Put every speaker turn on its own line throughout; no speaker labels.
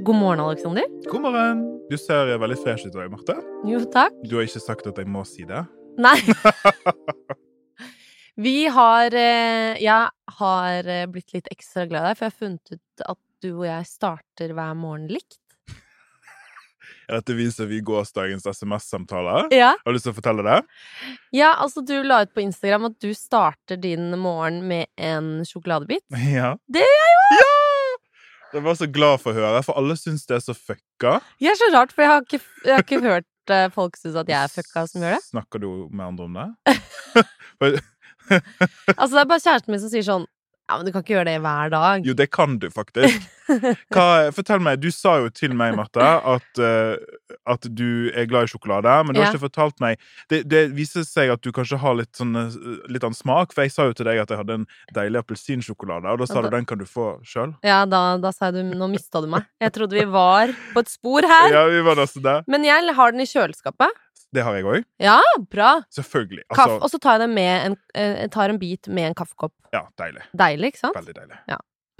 God morgen, Alexander.
God morgen! Du ser veldig fresh ut i dag, Marte.
Jo, takk.
Du har ikke sagt at jeg må si det.
Nei. Vi har eh, Jeg har eh, blitt litt ekstra glad i deg, for jeg har funnet ut at du og jeg starter hver morgen likt.
Er dette viser vi gårsdagens SMS-samtaler?
Ja.
Har du lyst til å fortelle det?
ja, altså du la ut på Instagram at du starter din morgen med en sjokoladebit.
Ja.
Det
gjør jeg jo! Ja! Det var jeg så glad for å høre, for alle syns det er så fucka.
Det er så rart, for jeg har ikke, jeg har ikke hørt eh, folk synes at jeg er fucka som gjør det.
Snakker du med andre om det?
Altså det er bare kjæresten min som sier sånn Ja, men du kan ikke gjøre det hver dag.
Jo, det kan du faktisk. Hva, fortell meg, Du sa jo til meg, Marte, at, eh, at du er glad i sjokolade. Men du har
Ja.
ikke fortalt meg det, det viser seg at du kanskje har litt, sånn, eh, litt annen smak. For jeg sa jo til deg at jeg hadde en deilig appelsinsjokolade, og da sa
Ja, da-
du den kan du få sjøl.
Ja, da, da sa jeg du Nå mista du meg. Jeg trodde vi var på et spor her.
Ja, vi var nesten der.
Men jeg har den i kjøleskapet.
Det har jeg òg.
Ja, bra.
Selvfølgelig.
Kaff,
Altså,
og så tar jeg, det med en, eh, jeg tar en bit med en kaffekopp.
ja, deilig.
Deilig, ikke sant?
Veldig deilig.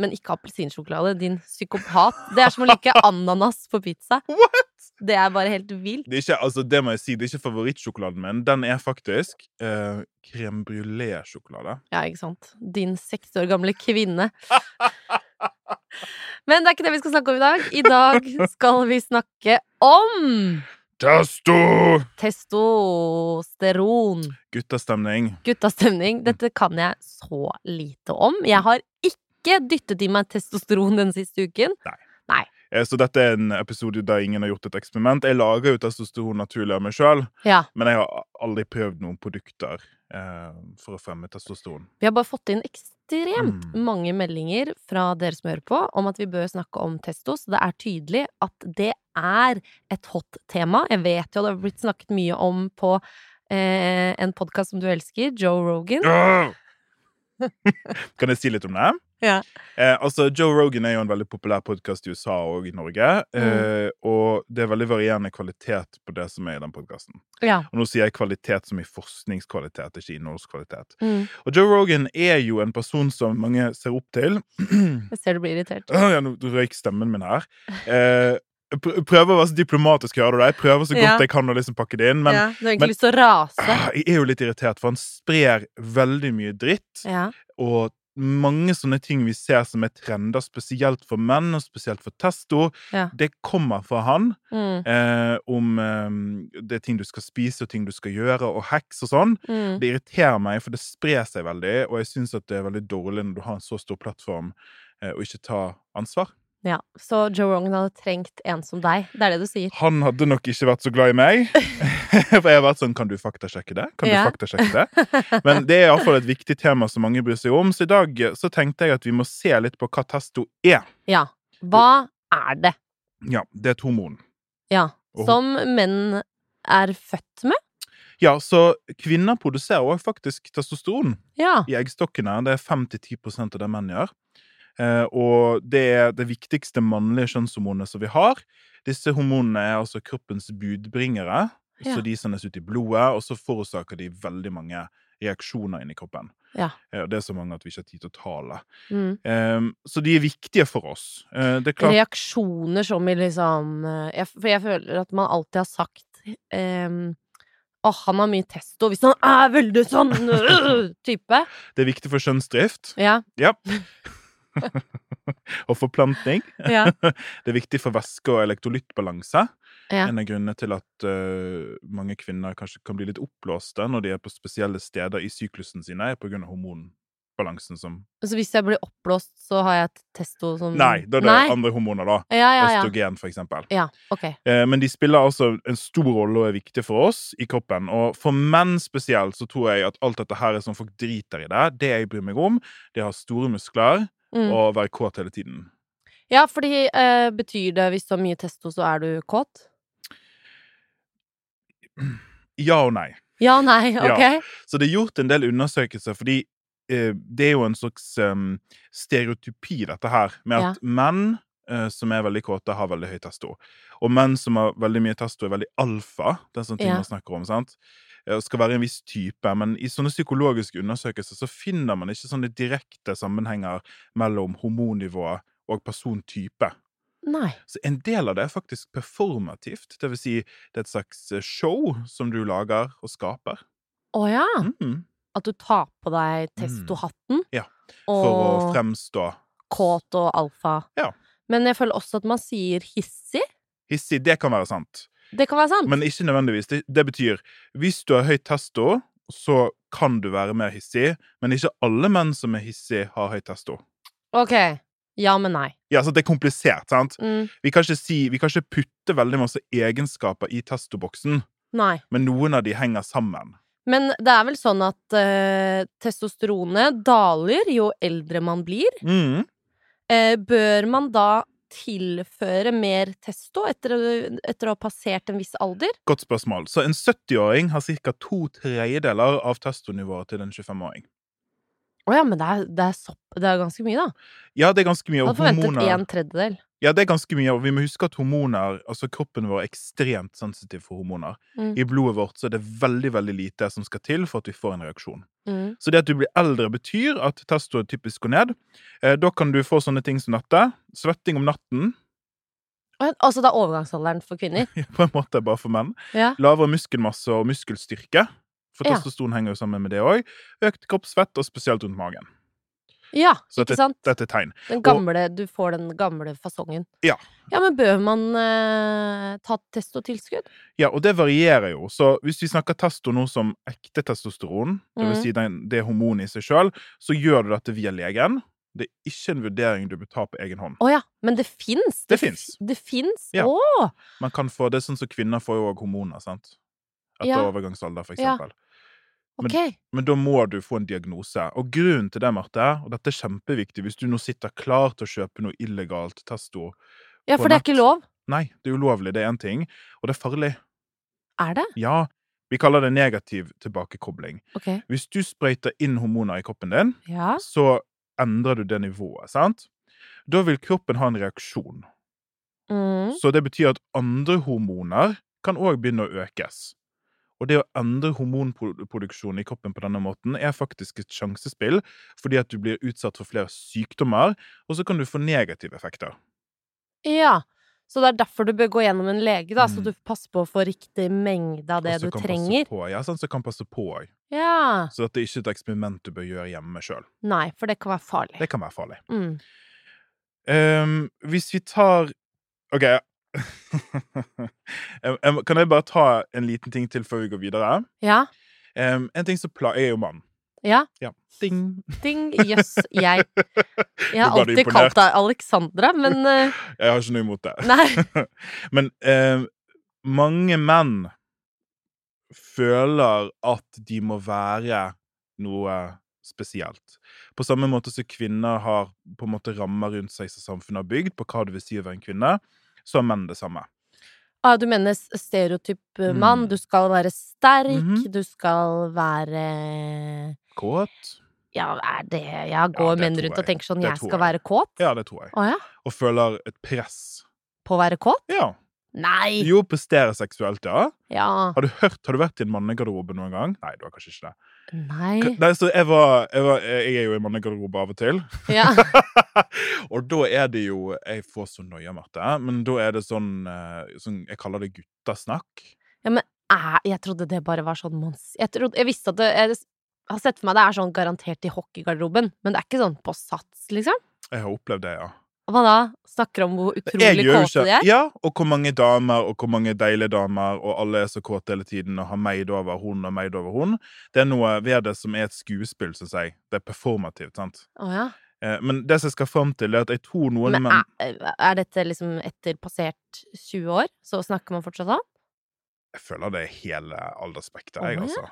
Men ikke appelsinsjokolade, din psykopat. Det er som å like ananas på pizza.
What?!
Det er bare helt vilt.
Det er ikke, altså, det må jeg si, det er ikke favorittsjokoladen min. Den er faktisk uh, crème brulé-sjokolade.
Ja, ikke sant? Din 60 år gamle kvinne. Men det er ikke det vi skal snakke om i dag. I dag skal vi snakke om
Testo!
testosteron.
Guttastemning.
Guttastemning. Dette kan jeg så lite om. Jeg har ikke dyttet i meg testosteron den siste uken.
Eh, Så dette er en episode der ingen har gjort et eksperiment. Jeg lager jo testosteron naturlig av meg sjøl,
Ja.
men jeg har aldri prøvd noen produkter eh, for å fremme testosteron.
Vi har bare fått inn ekstremt
Mm.
mange meldinger fra dere som hører på, om at vi bør snakke om testo. Så det er tydelig at det er et hot tema. Jeg vet jo det har blitt snakket mye om på eh, en podkast som du elsker, Joe Rogan.
kan jeg si litt om det?
Ja.
Eh, altså, Joe Rogan er jo en veldig populær podkast i USA og i Norge. Eh, og det er veldig varierende kvalitet på det som er i den podkasten.
Ja.
Og nå sier jeg kvalitet som i forskningskvalitet, ikke innholdskvalitet.
Mm.
Og Joe Rogan er jo en person som mange ser opp til.
Jeg ser du blir irritert.
Åh, ja, nå røyk stemmen min her. Eh, jeg pr- prøver å være så diplomatisk, hører du det? Jeg prøver så godt
Ja.
jeg kan å liksom pakke det inn, men
ja, du har egentlig
men-
lyst til å rase.
ah, jeg er jo litt irritert, for han sprer veldig mye dritt,
Ja.
og mange sånne ting vi ser som er trender, spesielt for menn, og spesielt for testo,
Ja.
det kommer fra han,
Mm.
eh, om eh, det er ting du skal spise, og ting du skal gjøre, og heks og sånn.
Mm.
Det irriterer meg, for det sprer seg veldig, og jeg synes at det er veldig dårlig når du har en så stor plattform, eh, og ikke tar ansvar.
ja. Så Joe Rogan hadde trengt en som deg. Det er det du sier.
Han hadde nok ikke vært så glad i meg. For jeg har vært sånn Kan du faktasjekke det? Kan
Ja.
du faktasjekke det? Men det er iallfall et viktig tema som mange bryr seg om, så i dag eh, så tenkte jeg at vi må se litt på hva testo er.
Ja. Hva er det?
Ja, det er et hormon.
Ja.
Og-
Som menn er født med?
Ja, så kvinner produserer også faktisk testosteron
Ja.
i eggstokkene. Det er 5-10 av det menn gjør. Eh, og det er det viktigste mannlige kjønnshormonet som vi har. Disse hormonene er altså kroppens budbringere,
Ja.
så de sendes ut i blodet, og så forårsaker de veldig mange reaksjoner inni kroppen.
Ja.
Eh, og det er så mange at vi ikke har tid til å tale.
Mm.
Eh, så de er viktige for oss. Eh, det er klart
reaksjoner som i liksom eh, jeg, For jeg føler at man alltid har sagt ehm, Åh, han har mye testo hvis han er veldig sånn øh, type.
det er viktig for kjønnsdrift
Ja.
og forplantning.
ja.
Det er viktig for væske- og elektrolyttbalanse.
Ja.
En av grunnene til at eh, mange kvinner kanskje kan bli litt oppblåste når de er på spesielle steder i syklusen sine, er pga. hormonbalansen som
Så hvis jeg blir oppblåst, så har jeg et testo som
Nei, da er det
Mm. Nei.
andre hormoner, da.
Ja, ja, ja.
Østrogen, for eksempel.
ja. Ok.
Eh, Men de spiller altså en stor rolle og er viktige for oss i kroppen. Og for menn spesielt så tror jeg at alt dette her er sånn folk driter i det. Det jeg bryr meg om, det er å ha store muskler
Mm.
og være kåt hele tiden.
Ja, fordi eh, betyr det hvis du har mye testo, så er du kåt?
Ja og nei.
Ja, nei, ok.
Så det er gjort en del undersøkelser, fordi eh, det er jo en slags em, stereotypi, dette her, med at menn eh, som er veldig kåte, har veldig høy testo. Og menn som har veldig mye testo, er veldig alfa. Det er sånne ting
Ja.
man snakker om, sant? Eh, og Skal være en viss type, men i sånne psykologiske undersøkelser så finner man ikke sånne direkte sammenhenger mellom hormonnivå og persontype.
Nei.
Så en del av det er faktisk performativt. Det vil si, det er et slags eh, show som du lager og skaper.
Å ja!
Mm.
At du tar på deg testohatten.
Ja, For å
Og
fremstå
kåt og alfa.
Ja.
Men jeg føler også at man sier hissig.
hissig. Det kan være sant.
Det kan være sant.
Men ikke nødvendigvis. Det, det betyr hvis du har høy testo, så kan du være mer hissig, men ikke alle menn som er hissige, har høy testo.
Ok. Ja, men nei.
Ja, så Det er komplisert. sant?
Mm.
Vi kan ikke, si, vi kan ikke putte veldig masse egenskaper i testoboksen,
Nei.
men noen av de henger sammen.
Men det er vel sånn at eh, testosteronet daler jo eldre man blir.
Mm.
Eh, bør man da tilføre mer testo etter, å- etter å ha passert en viss alder?
Godt spørsmål. Så en 70-åring har ca. to tredjedeler av testonivået til en 25-åring.
Å ja, men det er, det, er sopp, det er ganske mye, da.
Ja, det er ganske mye.
Jeg
og
hadde forventet
hormoner-
en tredjedel.
Ja, det er ganske mye, og vi må huske at hormoner, altså kroppen vår er ekstremt sensitiv for hormoner.
Mm.
I blodet vårt så er det veldig, veldig lite som skal til for at vi får en reaksjon.
Mm.
Så det at du blir eldre betyr at testoen typisk går ned. Eh, da kan du få sånne ting som dette. Svetting om natten,
Å, Altså det er overgangsalderen for kvinner?
på en måte bare for menn.
Ja.
Lavere muskelmasse og muskelstyrke, for
Ja.
testosteron henger jo sammen med det òg. Økt kroppsfett, og spesielt rundt magen.
ja
Så
ikke sant?
Dette er tegn.
Den gamle, du får den gamle fasongen.
Ja.
Ja, men bør man eh, ta testotilskudd?
Ja, og det varierer jo. Så hvis vi snakker testo nå som ekte testosteron, det vil
Mhm.
si den, det hormonet i seg sjøl, så gjør du dette via legen. Det er ikke en vurdering du bør ta på egen hånd.
Å ja, men det fins!
Det
f-
fins.
Det fins?
Ja.
Å!
Man kan få, Det er sånn som kvinner får jo òg hormoner, sant? Etter
Ja.
overgangsalder, for
Ja.
eksempel. Men-
Ok.
Men da må du få en diagnose. Og grunnen til det, Marte, og dette er kjempeviktig hvis du nå sitter klar til å kjøpe noe illegalt testo
Ja,
på
for det er ikke
nett.
lov?
Nei, det er ulovlig, det er én ting. Og det er farlig.
Er det?
Ja, vi kaller det negativ tilbakekobling.
Ok.
Hvis du sprøyter inn hormoner i kroppen din,
Ja.
så endrer du det nivået, sant? Da vil kroppen ha en reaksjon.
Mm.
Så det betyr at andre hormoner kan òg begynne å økes. Og det å endre hormonproduksjonen i kroppen på denne måten er faktisk et sjansespill, fordi at du blir utsatt for flere sykdommer, og så kan du få negative effekter.
Ja. Så det er derfor du bør gå gjennom en lege, da, så
Mm.
du passer på å få riktig mengde av det
Og så
du
kan passe
trenger.
På, ja, sant, så kan passe på òg.
Ja.
Så dette er ikke et eksperiment du bør gjøre hjemme sjøl.
Nei, for det kan være farlig.
Det kan være farlig.
Mm.
Ehm, hvis vi tar OK. Em, em, kan jeg bare ta en liten ting til før vi går videre?
Ja.
Em, en ting som pla... Jeg er jo mann.
Ja.
Ding!
Ding. Jøss, jeg Jeg har
Nå ble du
alltid
imponert.
kalt deg Alexandra, men eh,
Jeg har ikke noe imot det.
Nei.
Men em, mange menn føler at de må være noe spesielt. På samme måte som kvinner har på en måte rammer rundt seg som samfunnet har bygd, på hva det vil si å være en kvinne, så har menn det samme.
Ah, du mener s- stereotyp eh, mann.
Mm.
Du skal være sterk,
Mhm.
du skal være
Kåt?
Ja, er det Ja, går
det
menn
tror
rundt og
jeg.
tenker sånn
Det
'jeg
tror
skal
jeg.
være kåt'?
Ja, det tror jeg.
Å ja?
og føler et press.
På å være kåt?
Ja.
Nei!
Jo, prestere seksuelt, ja.
Ja.
Har du, hørt, har du vært i en mannegarderobe noen gang? Nei, du har kanskje ikke det.
Nei.
Nei, så jeg, var, jeg, var, jeg er jo i mannegarderobe av og til.
Ja.
og da er det jo Jeg får så noia, Marte, men da er det sånn, eh, sånn Jeg kaller det guttasnakk.
Æ, jeg trodde det bare var sånn mons... Jeg, trodde, jeg visste at det jeg, har sett for meg det er sånn garantert i hockeygarderoben, men det er ikke sånn på sats, liksom.
Jeg har opplevd det, ja.
Hva da? Snakker om hvor
Jeg
utrolig
gjør jo
kåte de
ikke
er?
Ja, og hvor mange damer, og hvor mange deilige damer, og alle er så kåte hele tiden og har meid over hun og meid over hun. Det er noe ved det som er et skuespill, syns jeg. Det er performativt, sant?
Å ja.
Eh, Men det som jeg skal fram til, er at jeg tror noen
Men
menn
er, er dette liksom etter passert 20 år, så snakker man fortsatt sånn?
Jeg føler det er hele aldersspektet,
Å,
jeg,
ja.
altså.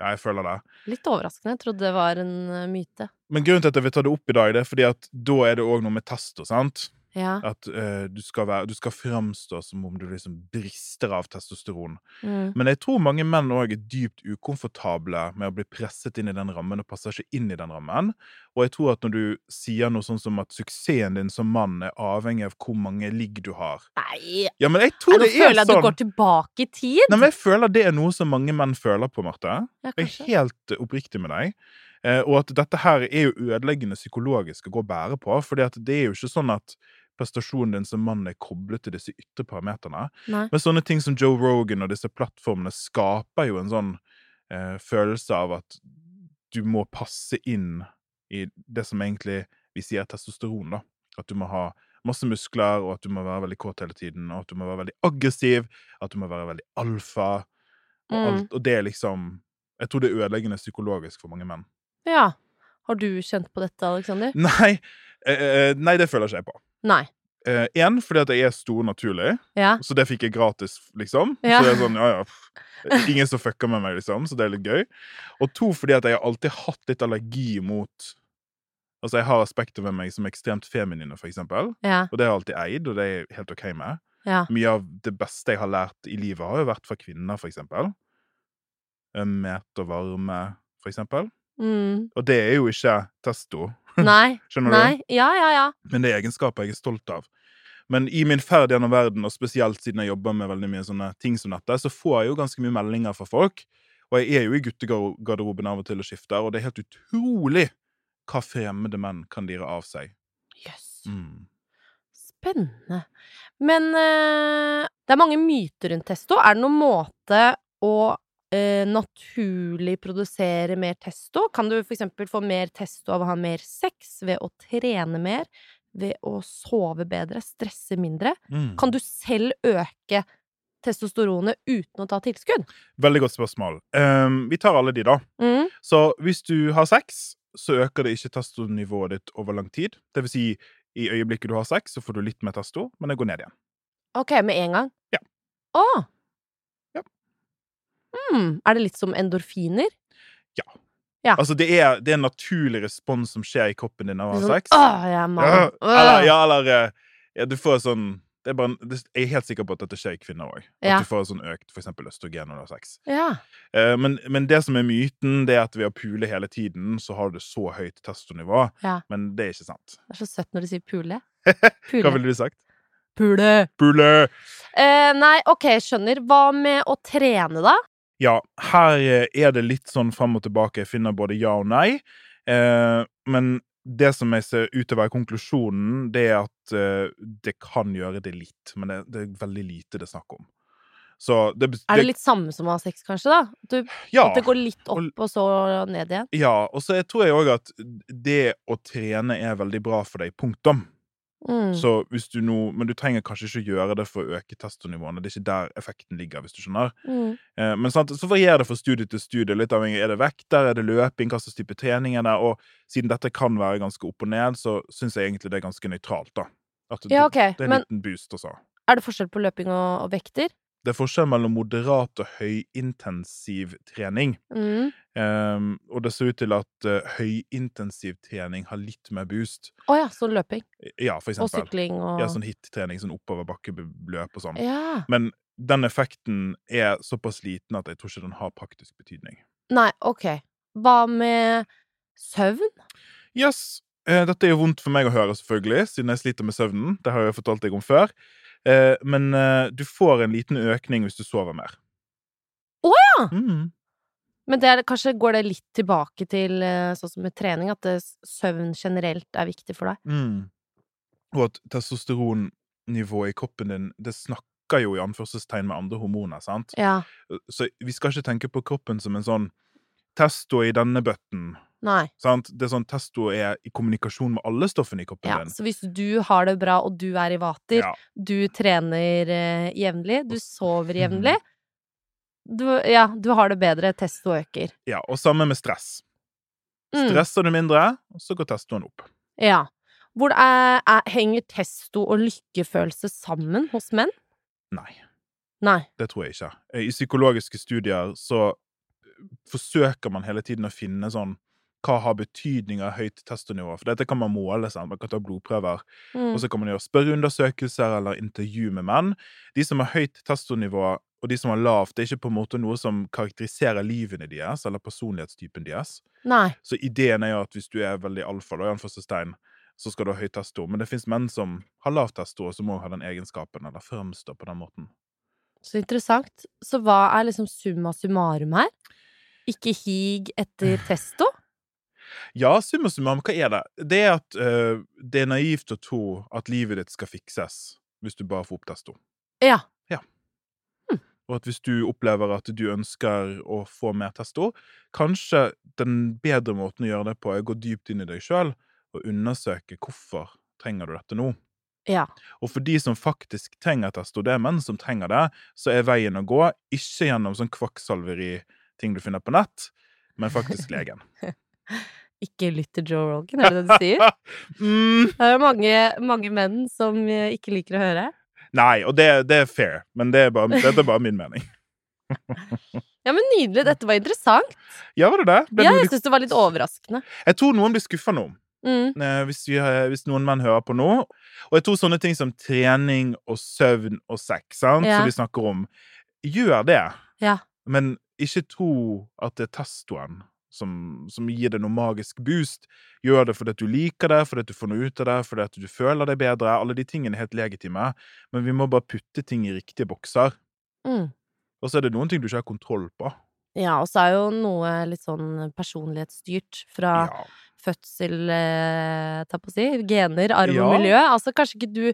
Ja, jeg føler det.
Litt overraskende. Jeg trodde det var en eh, myte.
Men grunnen til at jeg vil ta det opp i dag, det er fordi at da er det òg noe med testo, sant?
Ja.
At eh, du, skal være, du skal framstå som om du liksom brister av testosteron.
Mm.
Men jeg tror mange menn òg er dypt ukomfortable med å bli presset inn i den rammen, og passer ikke inn i den rammen. Og jeg tror at når du sier noe sånn som at suksessen din som mann er avhengig av hvor mange ligg du har
Nei!
Ja, men jeg
Nei,
tror
nå
det er
føler jeg at du
sånn!
går tilbake i tid.
Nei, men jeg føler det er noe som mange menn føler på, Marte.
ja,
Jeg
kanskje.
er helt eh, oppriktig med deg. Eh, og at dette her er jo ødeleggende psykologisk å gå og bære på, fordi at det er jo ikke sånn at prestasjonen din som mann er koblet til disse ytre parameterne.
Nei.
Men sånne ting som Joe Rogan og disse plattformene skaper jo en sånn eh, følelse av at du må passe inn i det som egentlig vi sier er testosteron, da. At du må ha masse muskler, og at du må være veldig kåt hele tiden, og at du må være veldig aggressiv, at du må være veldig alfa, og
Mm.
alt. Og det er liksom Jeg tror det er ødeleggende psykologisk for mange menn.
Ja. Har du kjent på dette, Aleksander?
Nei, eh, eh, nei det føler ikke jeg på.
Nei.
Én, fordi at jeg er stor naturlig,
Ja.
så det fikk jeg gratis, liksom.
Ja.
Så det er sånn, ja, ja. pff, Ingen som fucker med meg, liksom, så det er litt gøy. Og to, fordi at jeg har alltid hatt litt allergi mot Altså, jeg har aspekter ved meg som er ekstremt feminine, for eksempel.
Ja.
Og det har jeg alltid eid, og det er jeg helt OK med.
Ja.
Mye av det beste jeg har lært i livet, har jo vært fra kvinner, for eksempel. Ømhet og varme, for eksempel.
Mm.
Og det er jo ikke testo,
Nei.
skjønner du?
Nei. Ja, ja, ja.
Men det er egenskaper jeg er stolt av. Men i min ferd gjennom verden, og spesielt siden jeg jobber med veldig mye sånne ting som dette, så får jeg jo ganske mye meldinger fra folk. Og jeg er jo i guttegarderoben av og til og skifter, og det er helt utrolig hva fremmede menn kan lire av seg.
Jøss.
Mm.
Spennende. Men eh, det er mange myter rundt testo. Er det noen måte å eh, naturlig produsere mer testo? Kan du f.eks. få mer testo av å ha mer sex, ved å trene mer, ved å sove bedre, stresse mindre?
Mm.
Kan du selv øke testosteronet uten å ta tilskudd?
Veldig godt spørsmål. Ehm, vi tar alle de, da.
Mm.
Så hvis du har sex, så øker det ikke testonivået ditt over lang tid. Det vil si, i øyeblikket du har sex, så får du litt mer testo, men det går ned igjen.
Ok, med en gang?
Ja.
Å!
Ja.
Mm. Er det litt som endorfiner? Ja.
Altså, det er, det er en naturlig respons som skjer i kroppen din av å
Litt
ha
sånn,
sex.
Åh, jeg er
Ja,
mann.
eller, ja, eller eh, ja, du får sånn det er bare, en- det, Jeg er helt sikker på at dette skjer i kvinner òg.
Ja.
At du får sånn økt for eksempel østrogen når du har sex.
ja.
Eh, men, men det som er myten, det er at ved å pule hele tiden, så har du så høyt testonivå.
Ja.
Men det er ikke sant.
Det er så søtt når de sier pule.
Hva
Pule.
ville du sagt?
pule.
Pule!
Eh, nei, ok, skjønner. Hva med å trene, da?
Ja, her eh, er det litt sånn fram og tilbake. Jeg finner både ja og nei. Eh, men det som jeg ser ut til å være konklusjonen, det er at eh, det kan gjøre det litt. Men det, det er veldig lite det er snakk om. Så det, bes-
Er det litt samme som å ha sex, kanskje? da? Du,
ja,
At det går litt
Og-
opp og så ned igjen?
ja, og så jeg tror jeg òg at det å trene er veldig bra for deg, punktum.
Mm.
Så hvis du nå, men du trenger kanskje ikke gjøre det for å øke testonivåene. Det er ikke der effekten ligger, hvis du skjønner.
Mm.
Eh, Men sant, så varierer det fra studie til studie. litt avhengig. Er det vekter, er det løping, hva slags type trening er det? Og siden dette kan være ganske opp og ned, så syns jeg egentlig det er ganske nøytralt. da. At det,
Ja, ok.
det er en
Men
liten boost, altså.
er det forskjell på løping og, og vekter?
Det er forskjell mellom moderat og høyintensiv trening.
Mm.
Ehm, og det ser ut til at eh, høyintensiv trening har litt mer boost.
Å ja, sånn løping.
Ja, for
Og
eksempel.
sykling og
Ja, sånn hit-trening, sånn oppoverbakkeløp og sånn.
Ja.
Men den effekten er såpass liten at jeg tror ikke den har praktisk betydning.
Nei, ok. Hva med søvn?
Yes. Eh, dette er jo vondt for meg å høre, selvfølgelig, siden jeg sliter med søvnen. Det har jeg jo fortalt deg om før. Eh, men eh, du får en liten økning hvis du sover mer.
Å
ja! Mm.
Men det er, kanskje går det litt tilbake til eh, sånn som med trening, at det, søvn generelt er viktig for deg?
Mm. Og at testosteronnivået i kroppen din det snakker jo i anførselstegn med andre hormoner. sant? Eh,
Ja.
Så vi skal ikke tenke på kroppen som en sånn testo i denne bøtten.
Nei.
sant? Det er sånn Testo er i kommunikasjon med alle stoffene i kroppen
Ja,
din.
så hvis du har det bra, og du er i vater,
Ja.
du trener eh, jevnlig, du sover jevnlig
Mm-hmm.
du, Ja, du har det bedre, testo øker.
ja, Og samme med stress.
Mm,
Stresser du mindre, så går testoen opp.
Ja. Hvor er, er, henger testo og lykkefølelse sammen hos menn?
Nei.
Nei.
Det tror jeg ikke. Eh, I psykologiske studier så eh, forsøker man hele tiden å finne sånn hva har betydning av høyt testonivå? For dette kan man måle. Sant? Man kan ta blodprøver.
Mm.
Og så kan man gjøre spørreundersøkelser eller intervju med menn. De som har høyt testonivå, og de som har lavt, det er ikke på en måte noe som karakteriserer livene deres eller personlighetstypen deres.
Nei.
Så ideen er jo at hvis du er veldig alfa, da, i anførselstegn, så skal du ha høy testo. Men det fins menn som har lav testo, og som òg har den egenskapen, eller fremstår på den måten.
Så interessant. Så hva er liksom summa summarum her? Ikke hig etter testo?
Ja, summa summarum, hva er det? Det er at eh, det er naivt å tro at livet ditt skal fikses hvis du bare får opp testo.
Ja.
Og at hvis du opplever at du ønsker å få mer testo, kanskje den bedre måten å gjøre det på er å gå dypt inn i deg sjøl og undersøke hvorfor trenger du dette nå.
Ja.
Og for de som faktisk trenger testo, det er menn som trenger det, så er veien å gå ikke gjennom sånn kvakksalveri-ting du finner på nett, men faktisk legen.
Ikke lytt til Joe Rogan, er det det du sier?
mm,
Det er jo mange, mange menn som eh, ikke liker å høre.
nei, og det, det er fair, men det er bare, dette er bare min mening.
Ja, men nydelig. Dette var interessant.
Ja, var det det? Ble
Ja,
du-
jeg syns det var litt overraskende.
jeg tror noen blir skuffa nå.
Mm.
eh, hvis, vi, eh, hvis noen menn hører på nå. Og jeg tror sånne ting som trening og søvn og sex, sant,
Ja.
som vi snakker om, gjør det.
Ja.
Men ikke tro at det er testoen som, som gir deg noe magisk boost. Gjør det fordi at du liker det, fordi at du får noe ut av det, fordi at du føler deg bedre. Alle de tingene er helt legitime, men vi må bare putte ting i riktige bokser.
Mm.
Og så er det noen ting du ikke har kontroll på.
Ja, og så er jo noe litt sånn personlighetsstyrt fra
Ja.
fødsel, eh, ta på å si, gener, arv og
Ja.
miljø. Altså kanskje ikke du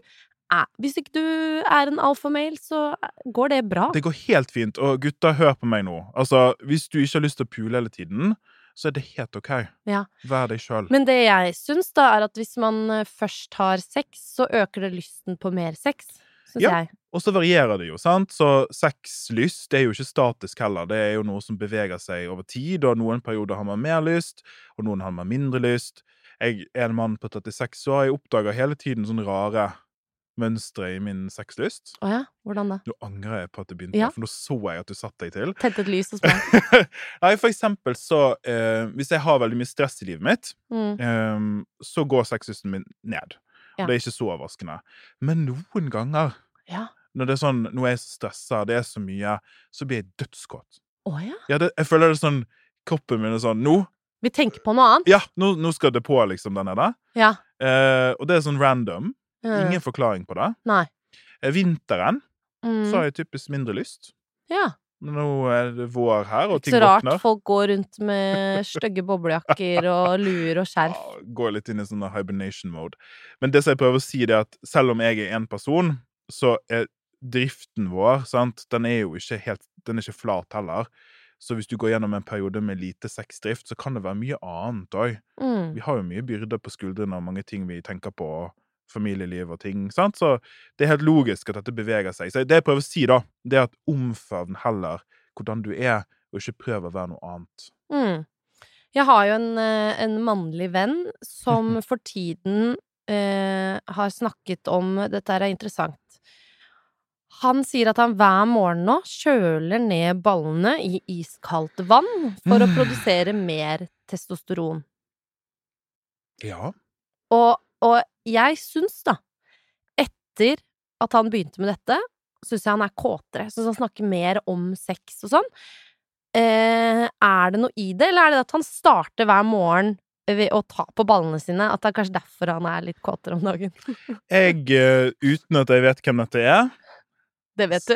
er Hvis ikke du er en alfamale, så går det bra.
Det går helt fint. Og gutta, hør på meg nå. Altså, Hvis du ikke har lyst til å pule hele tiden, så er det helt OK.
Ja.
Vær deg sjøl.
Men det jeg syns, da, er at hvis man eh, først har sex, så øker det lysten på mer sex. Syns
Ja.
jeg.
Og så varierer det jo, sant? Så sexlyst det er jo ikke statisk heller. Det er jo noe som beveger seg over tid, og noen perioder har man mer lyst, og noen har man mindre lyst. Jeg er en mann på 36 år, jeg oppdager hele tiden sånne rare mønstre i min sexlyst.
Å ja? Hvordan da?
Nå angrer jeg på at det begynte,
Ja.
for nå så jeg at du satte deg til.
Tente et lys hos meg.
Nei, for eksempel så eh, Hvis jeg har veldig mye stress i livet mitt,
Mm.
Ehm, så går sexlysten min ned.
Ja.
Og det er ikke så overraskende. Men noen ganger,
Ja.
når det er sånn, nå er jeg så stressa, det er så mye, så blir jeg dødskåt.
Å ja?
Ja, det, jeg føler det er sånn Kroppen min er sånn Nå!
Vi tenker på noe annet.
Ja, nå, nå skal det på, liksom, den er der.
Ja.
Eh, og det er sånn random.
Mm.
Ingen forklaring på det.
Nei.
Eh, Vinteren
Mm.
så har jeg typisk mindre lyst.
Ja.
Men nå er det vår her, og ting
Så rart
våkner.
folk går rundt med stygge boblejakker og luer og skjerf.
Ja, Går litt inn i sånn hibernation mode. Men det som jeg prøver å si, det er at selv om jeg er én person, så er driften vår sant? Den er jo ikke helt Den er ikke flat heller. Så hvis du går gjennom en periode med lite sexdrift, så kan det være mye annet òg.
Mm.
Vi har jo mye byrder på skuldrene og mange ting vi tenker på, og familieliv og ting. sant? Så det er helt logisk at dette beveger seg. Så det jeg prøver å si, da, det er at omfavn heller hvordan du er, og ikke prøv å være noe annet.
Mm. Jeg har jo en, eh, en mannlig venn som for tiden eh, har snakket om Dette her er interessant. Han sier at han hver morgen nå kjøler ned ballene i iskaldt vann for å
Mm.
produsere mer testosteron.
Ja.
Og, og jeg syns, da, etter at han begynte med dette, syns jeg han er kåtere. Syns han snakker mer om sex og sånn. Eh, er det noe i det, eller er det at han starter hver morgen ved å ta på ballene sine? At det er kanskje derfor han er litt kåtere om dagen?
Jeg, eh, uten at jeg vet hvem dette er
Det vet du.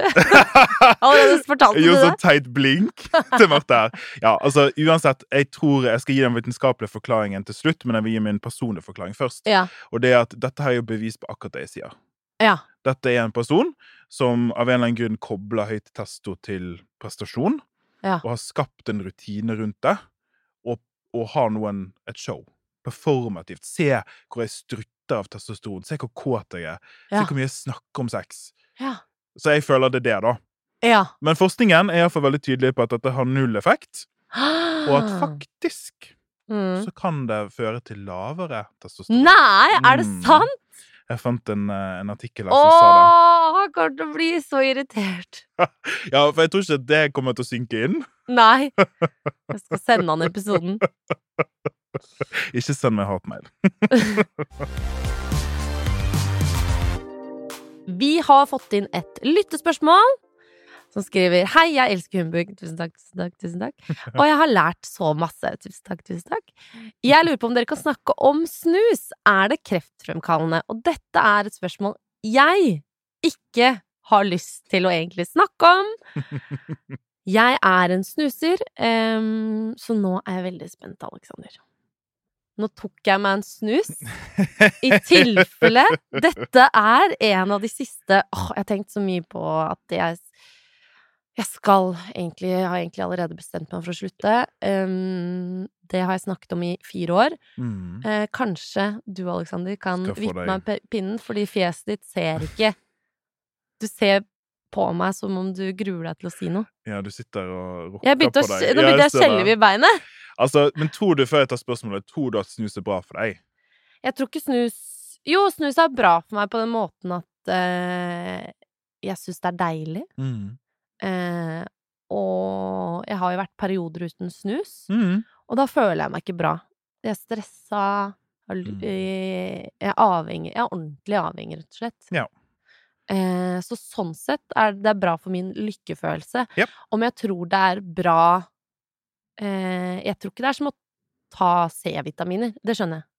Allerede fortalte
Jeg
du
gjorde
det.
sånn teit blink til Marte her. Ja, altså, uansett, jeg tror jeg skal gi den vitenskapelige forklaringen til slutt, men jeg vil gi min personlige forklaring først.
Ja.
Og det er at dette her er jo bevis på akkurat det jeg sier.
Ja.
Dette er en person som av en eller annen grunn kobler høyt testo til prestasjon,
Ja.
og har skapt en rutine rundt det, og, og har noen et show. Performativt. Se hvor jeg strutter av testosteron. Se hvor kåt jeg er.
Ja.
Se hvor mye jeg snakker om sex.
Ja.
Så jeg føler det er det, da.
ja.
Men forskningen er i hvert fall veldig tydelig på at dette har null effekt, og at faktisk
Ah. mm.
så kan det føre til lavere testosteron.
Nei, er det
Mm.
sant?
Jeg fant en, eh, en artikkel her
Åh,
som sa
han kommer til å bli så irritert.
det. Ja, for jeg tror ikke at det kommer til å synke inn.
Nei. Jeg skal sende han episoden.
Ikke send meg hatmail.
Vi har fått inn et lyttespørsmål som skriver Hei, jeg elsker humbug. Tusen takk, tusen takk, tusen takk. Og jeg har lært så masse. Tusen takk, tusen takk. Jeg lurer på om dere kan snakke om snus. Er det kreftfremkallende? Og dette er et spørsmål jeg ikke har lyst til å egentlig snakke om. ehm, Jeg er en snuser, em, så nå er jeg veldig spent, Alexander. nå tok jeg meg en snus. I tilfelle dette er en av de siste Åh, jeg har tenkt så mye på at jeg Jeg skal egentlig Jeg har egentlig allerede bestemt meg for å slutte. Um, det har jeg snakket om i fire år.
Mm.
Eh, kanskje du, Aleksander, kan
Skal få
vippe
deg-
meg pe- pinnen, fordi fjeset ditt ser ikke Du ser på meg som om du gruer deg til å si noe.
Ja, du sitter og rocker
Jeg begynte å,
på
s-
deg.
nå
Ja,
begynte jeg å
ser det.
skjelve i beinet.
Altså, men tror du, før jeg tar spørsmålet, tror du at snus er bra for deg?
Jeg tror ikke snus Jo, snus er bra for meg på den måten at eh, jeg syns det er deilig. Eh, og jeg har jo vært perioder uten snus,
Mm.
og da føler jeg meg ikke bra. Jeg er stressa, jeg er l-
Mm.
jeg er avhengig Jeg er ordentlig avhengig, rett og slett.
Ja.
Eh, så sånn sett er det, det er bra for min lykkefølelse.
Japp.
Om jeg tror det er bra eh, Jeg tror ikke det er som å ta C-vitaminer. Det skjønner jeg.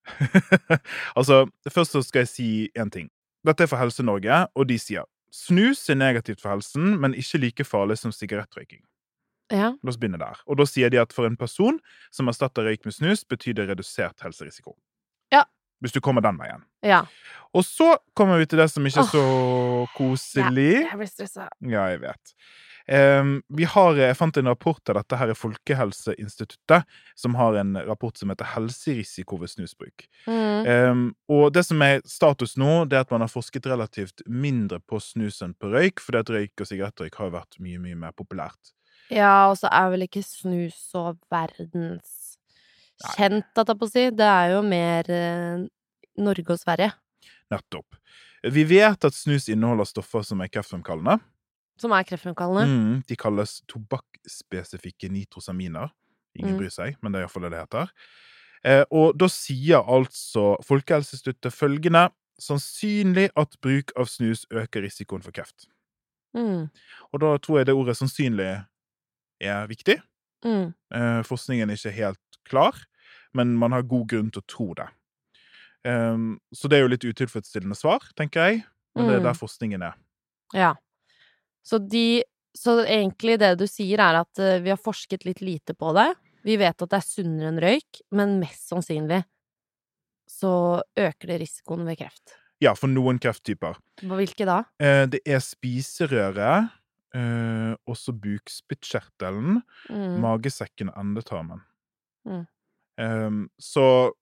altså, først så skal jeg si én ting. Dette er for Helse Norge, og de sier snus er negativt for helsen, men ikke like farlig som sigarettrøyking.
Ja.
La oss begynne der. Og da sier de at for en person som erstatter røyk med snus, betyr det redusert helserisiko.
Ja.
Hvis du kommer den veien.
ja.
Og så kommer vi til det som ikke er så koselig.
Jeg blir stressa.
Ja, jeg vet. Em, vi har, jeg fant en rapport av dette her i Folkehelseinstituttet, som har en rapport som heter 'Helserisiko ved snusbruk'.
Mm.
Em, og det som er status nå, det er at man har forsket relativt mindre på snus enn på røyk, fordi at røyk og sigarettrøyk har jo vært mye, mye mer populært.
Ja, og så er vel ikke snus så verdens kjent, at jeg på å si. Det er jo mer eh, Norge og Sverige
Nettopp. Vi vet at snus inneholder stoffer som er kreftfremkallende.
som er kreftfremkallende.
Mm, de kalles tobakkspesifikke nitrosaminer. Ingen
Mm.
bryr seg, men det er iallfall det det heter. Eh, og da sier altså Folkehelseinstituttet følgende Sannsynlig at bruk av snus øker risikoen for kreft.
Mm.
Og da tror jeg det ordet 'sannsynlig' er viktig.
Mm.
Eh, forskningen er ikke helt klar, men man har god grunn til å tro det. Ehm, så det er jo litt utilfredsstillende svar, tenker jeg, men det er
Mm.
der forskningen er.
Ja. Så, de, så egentlig det du sier, er at eh, vi har forsket litt lite på det. Vi vet at det er sunnere enn røyk, men mest sannsynlig så øker det risikoen ved kreft.
Ja, for noen krefttyper.
Hva- Hvilke da?
Eh, det er spiserøret, eh, også bukspyttkjertelen,
Mm.
magesekken og endetarmen.
Mm.
Ehm, så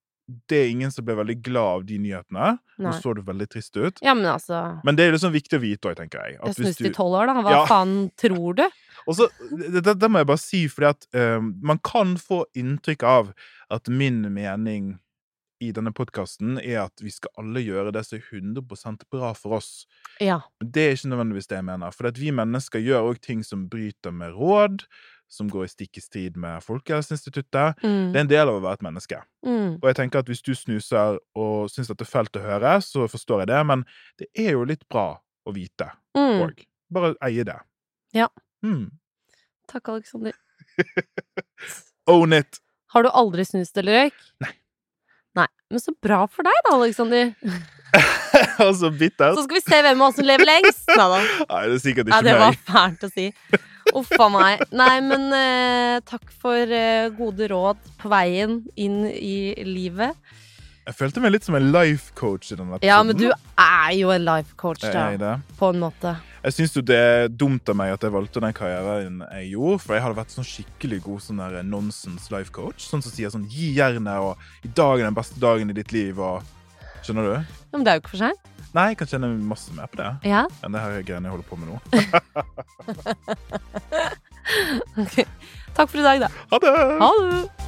det er ingen som ble veldig glad av de nyhetene. Nå
Nei.
så du veldig trist ut.
Ja, men altså
Men det er liksom viktig å vite òg, tenker jeg. at
Jeg
hvis
snuste i
du-
tolv år, da. Hva
Ja.
faen tror du?
Og så, det, det, det må jeg bare si, fordi at eh, man kan få inntrykk av at min mening i denne podkasten er at vi skal alle gjøre det som er 100 bra for oss.
Ja.
Men Det er ikke nødvendigvis det jeg mener. For at vi mennesker gjør òg ting som bryter med råd, som går i stikk i strid med Folkehelseinstituttet.
Mm.
Det er en del av å være et menneske.
Mm.
Og jeg tenker at hvis du snuser og syns at det er fælt å høre, så forstår jeg det, men det er jo litt bra å vite
Mm.
òg. Bare eie det.
Ja.
Mm.
Takk, Aleksander.
Own it!
Har du aldri snust eller røyk?
Nei.
Nei. Men så bra for deg, da, Aleksander.
altså bittert.
Så skal vi se hvem av oss som lever lengst. Nei da.
Nei, det er sikkert
Ja,
ikke
det var
meg.
fælt å si. Uff a meg. Nei, men eh, takk for eh, gode råd på veien inn i livet.
Jeg følte meg litt som en life coach i denne episoden.
Ja, men du er jo en life coach,
Sånn. Jeg er
da.
det.
På en måte.
Jeg syns jo det er dumt av meg at jeg valgte den karrieren jeg gjorde, for jeg hadde vært sånn skikkelig god sånn der nonsens life coach. Sånn som sier sånn gi jernet, og i dag er den beste dagen i ditt liv, og Skjønner du?
Ja, men det er jo ikke for seint.
Nei, jeg kan tjene masse mer på det
Ja.
enn det her greiene jeg holder på med nå.
Takk for i dag, da.
Ha det!
Ha det!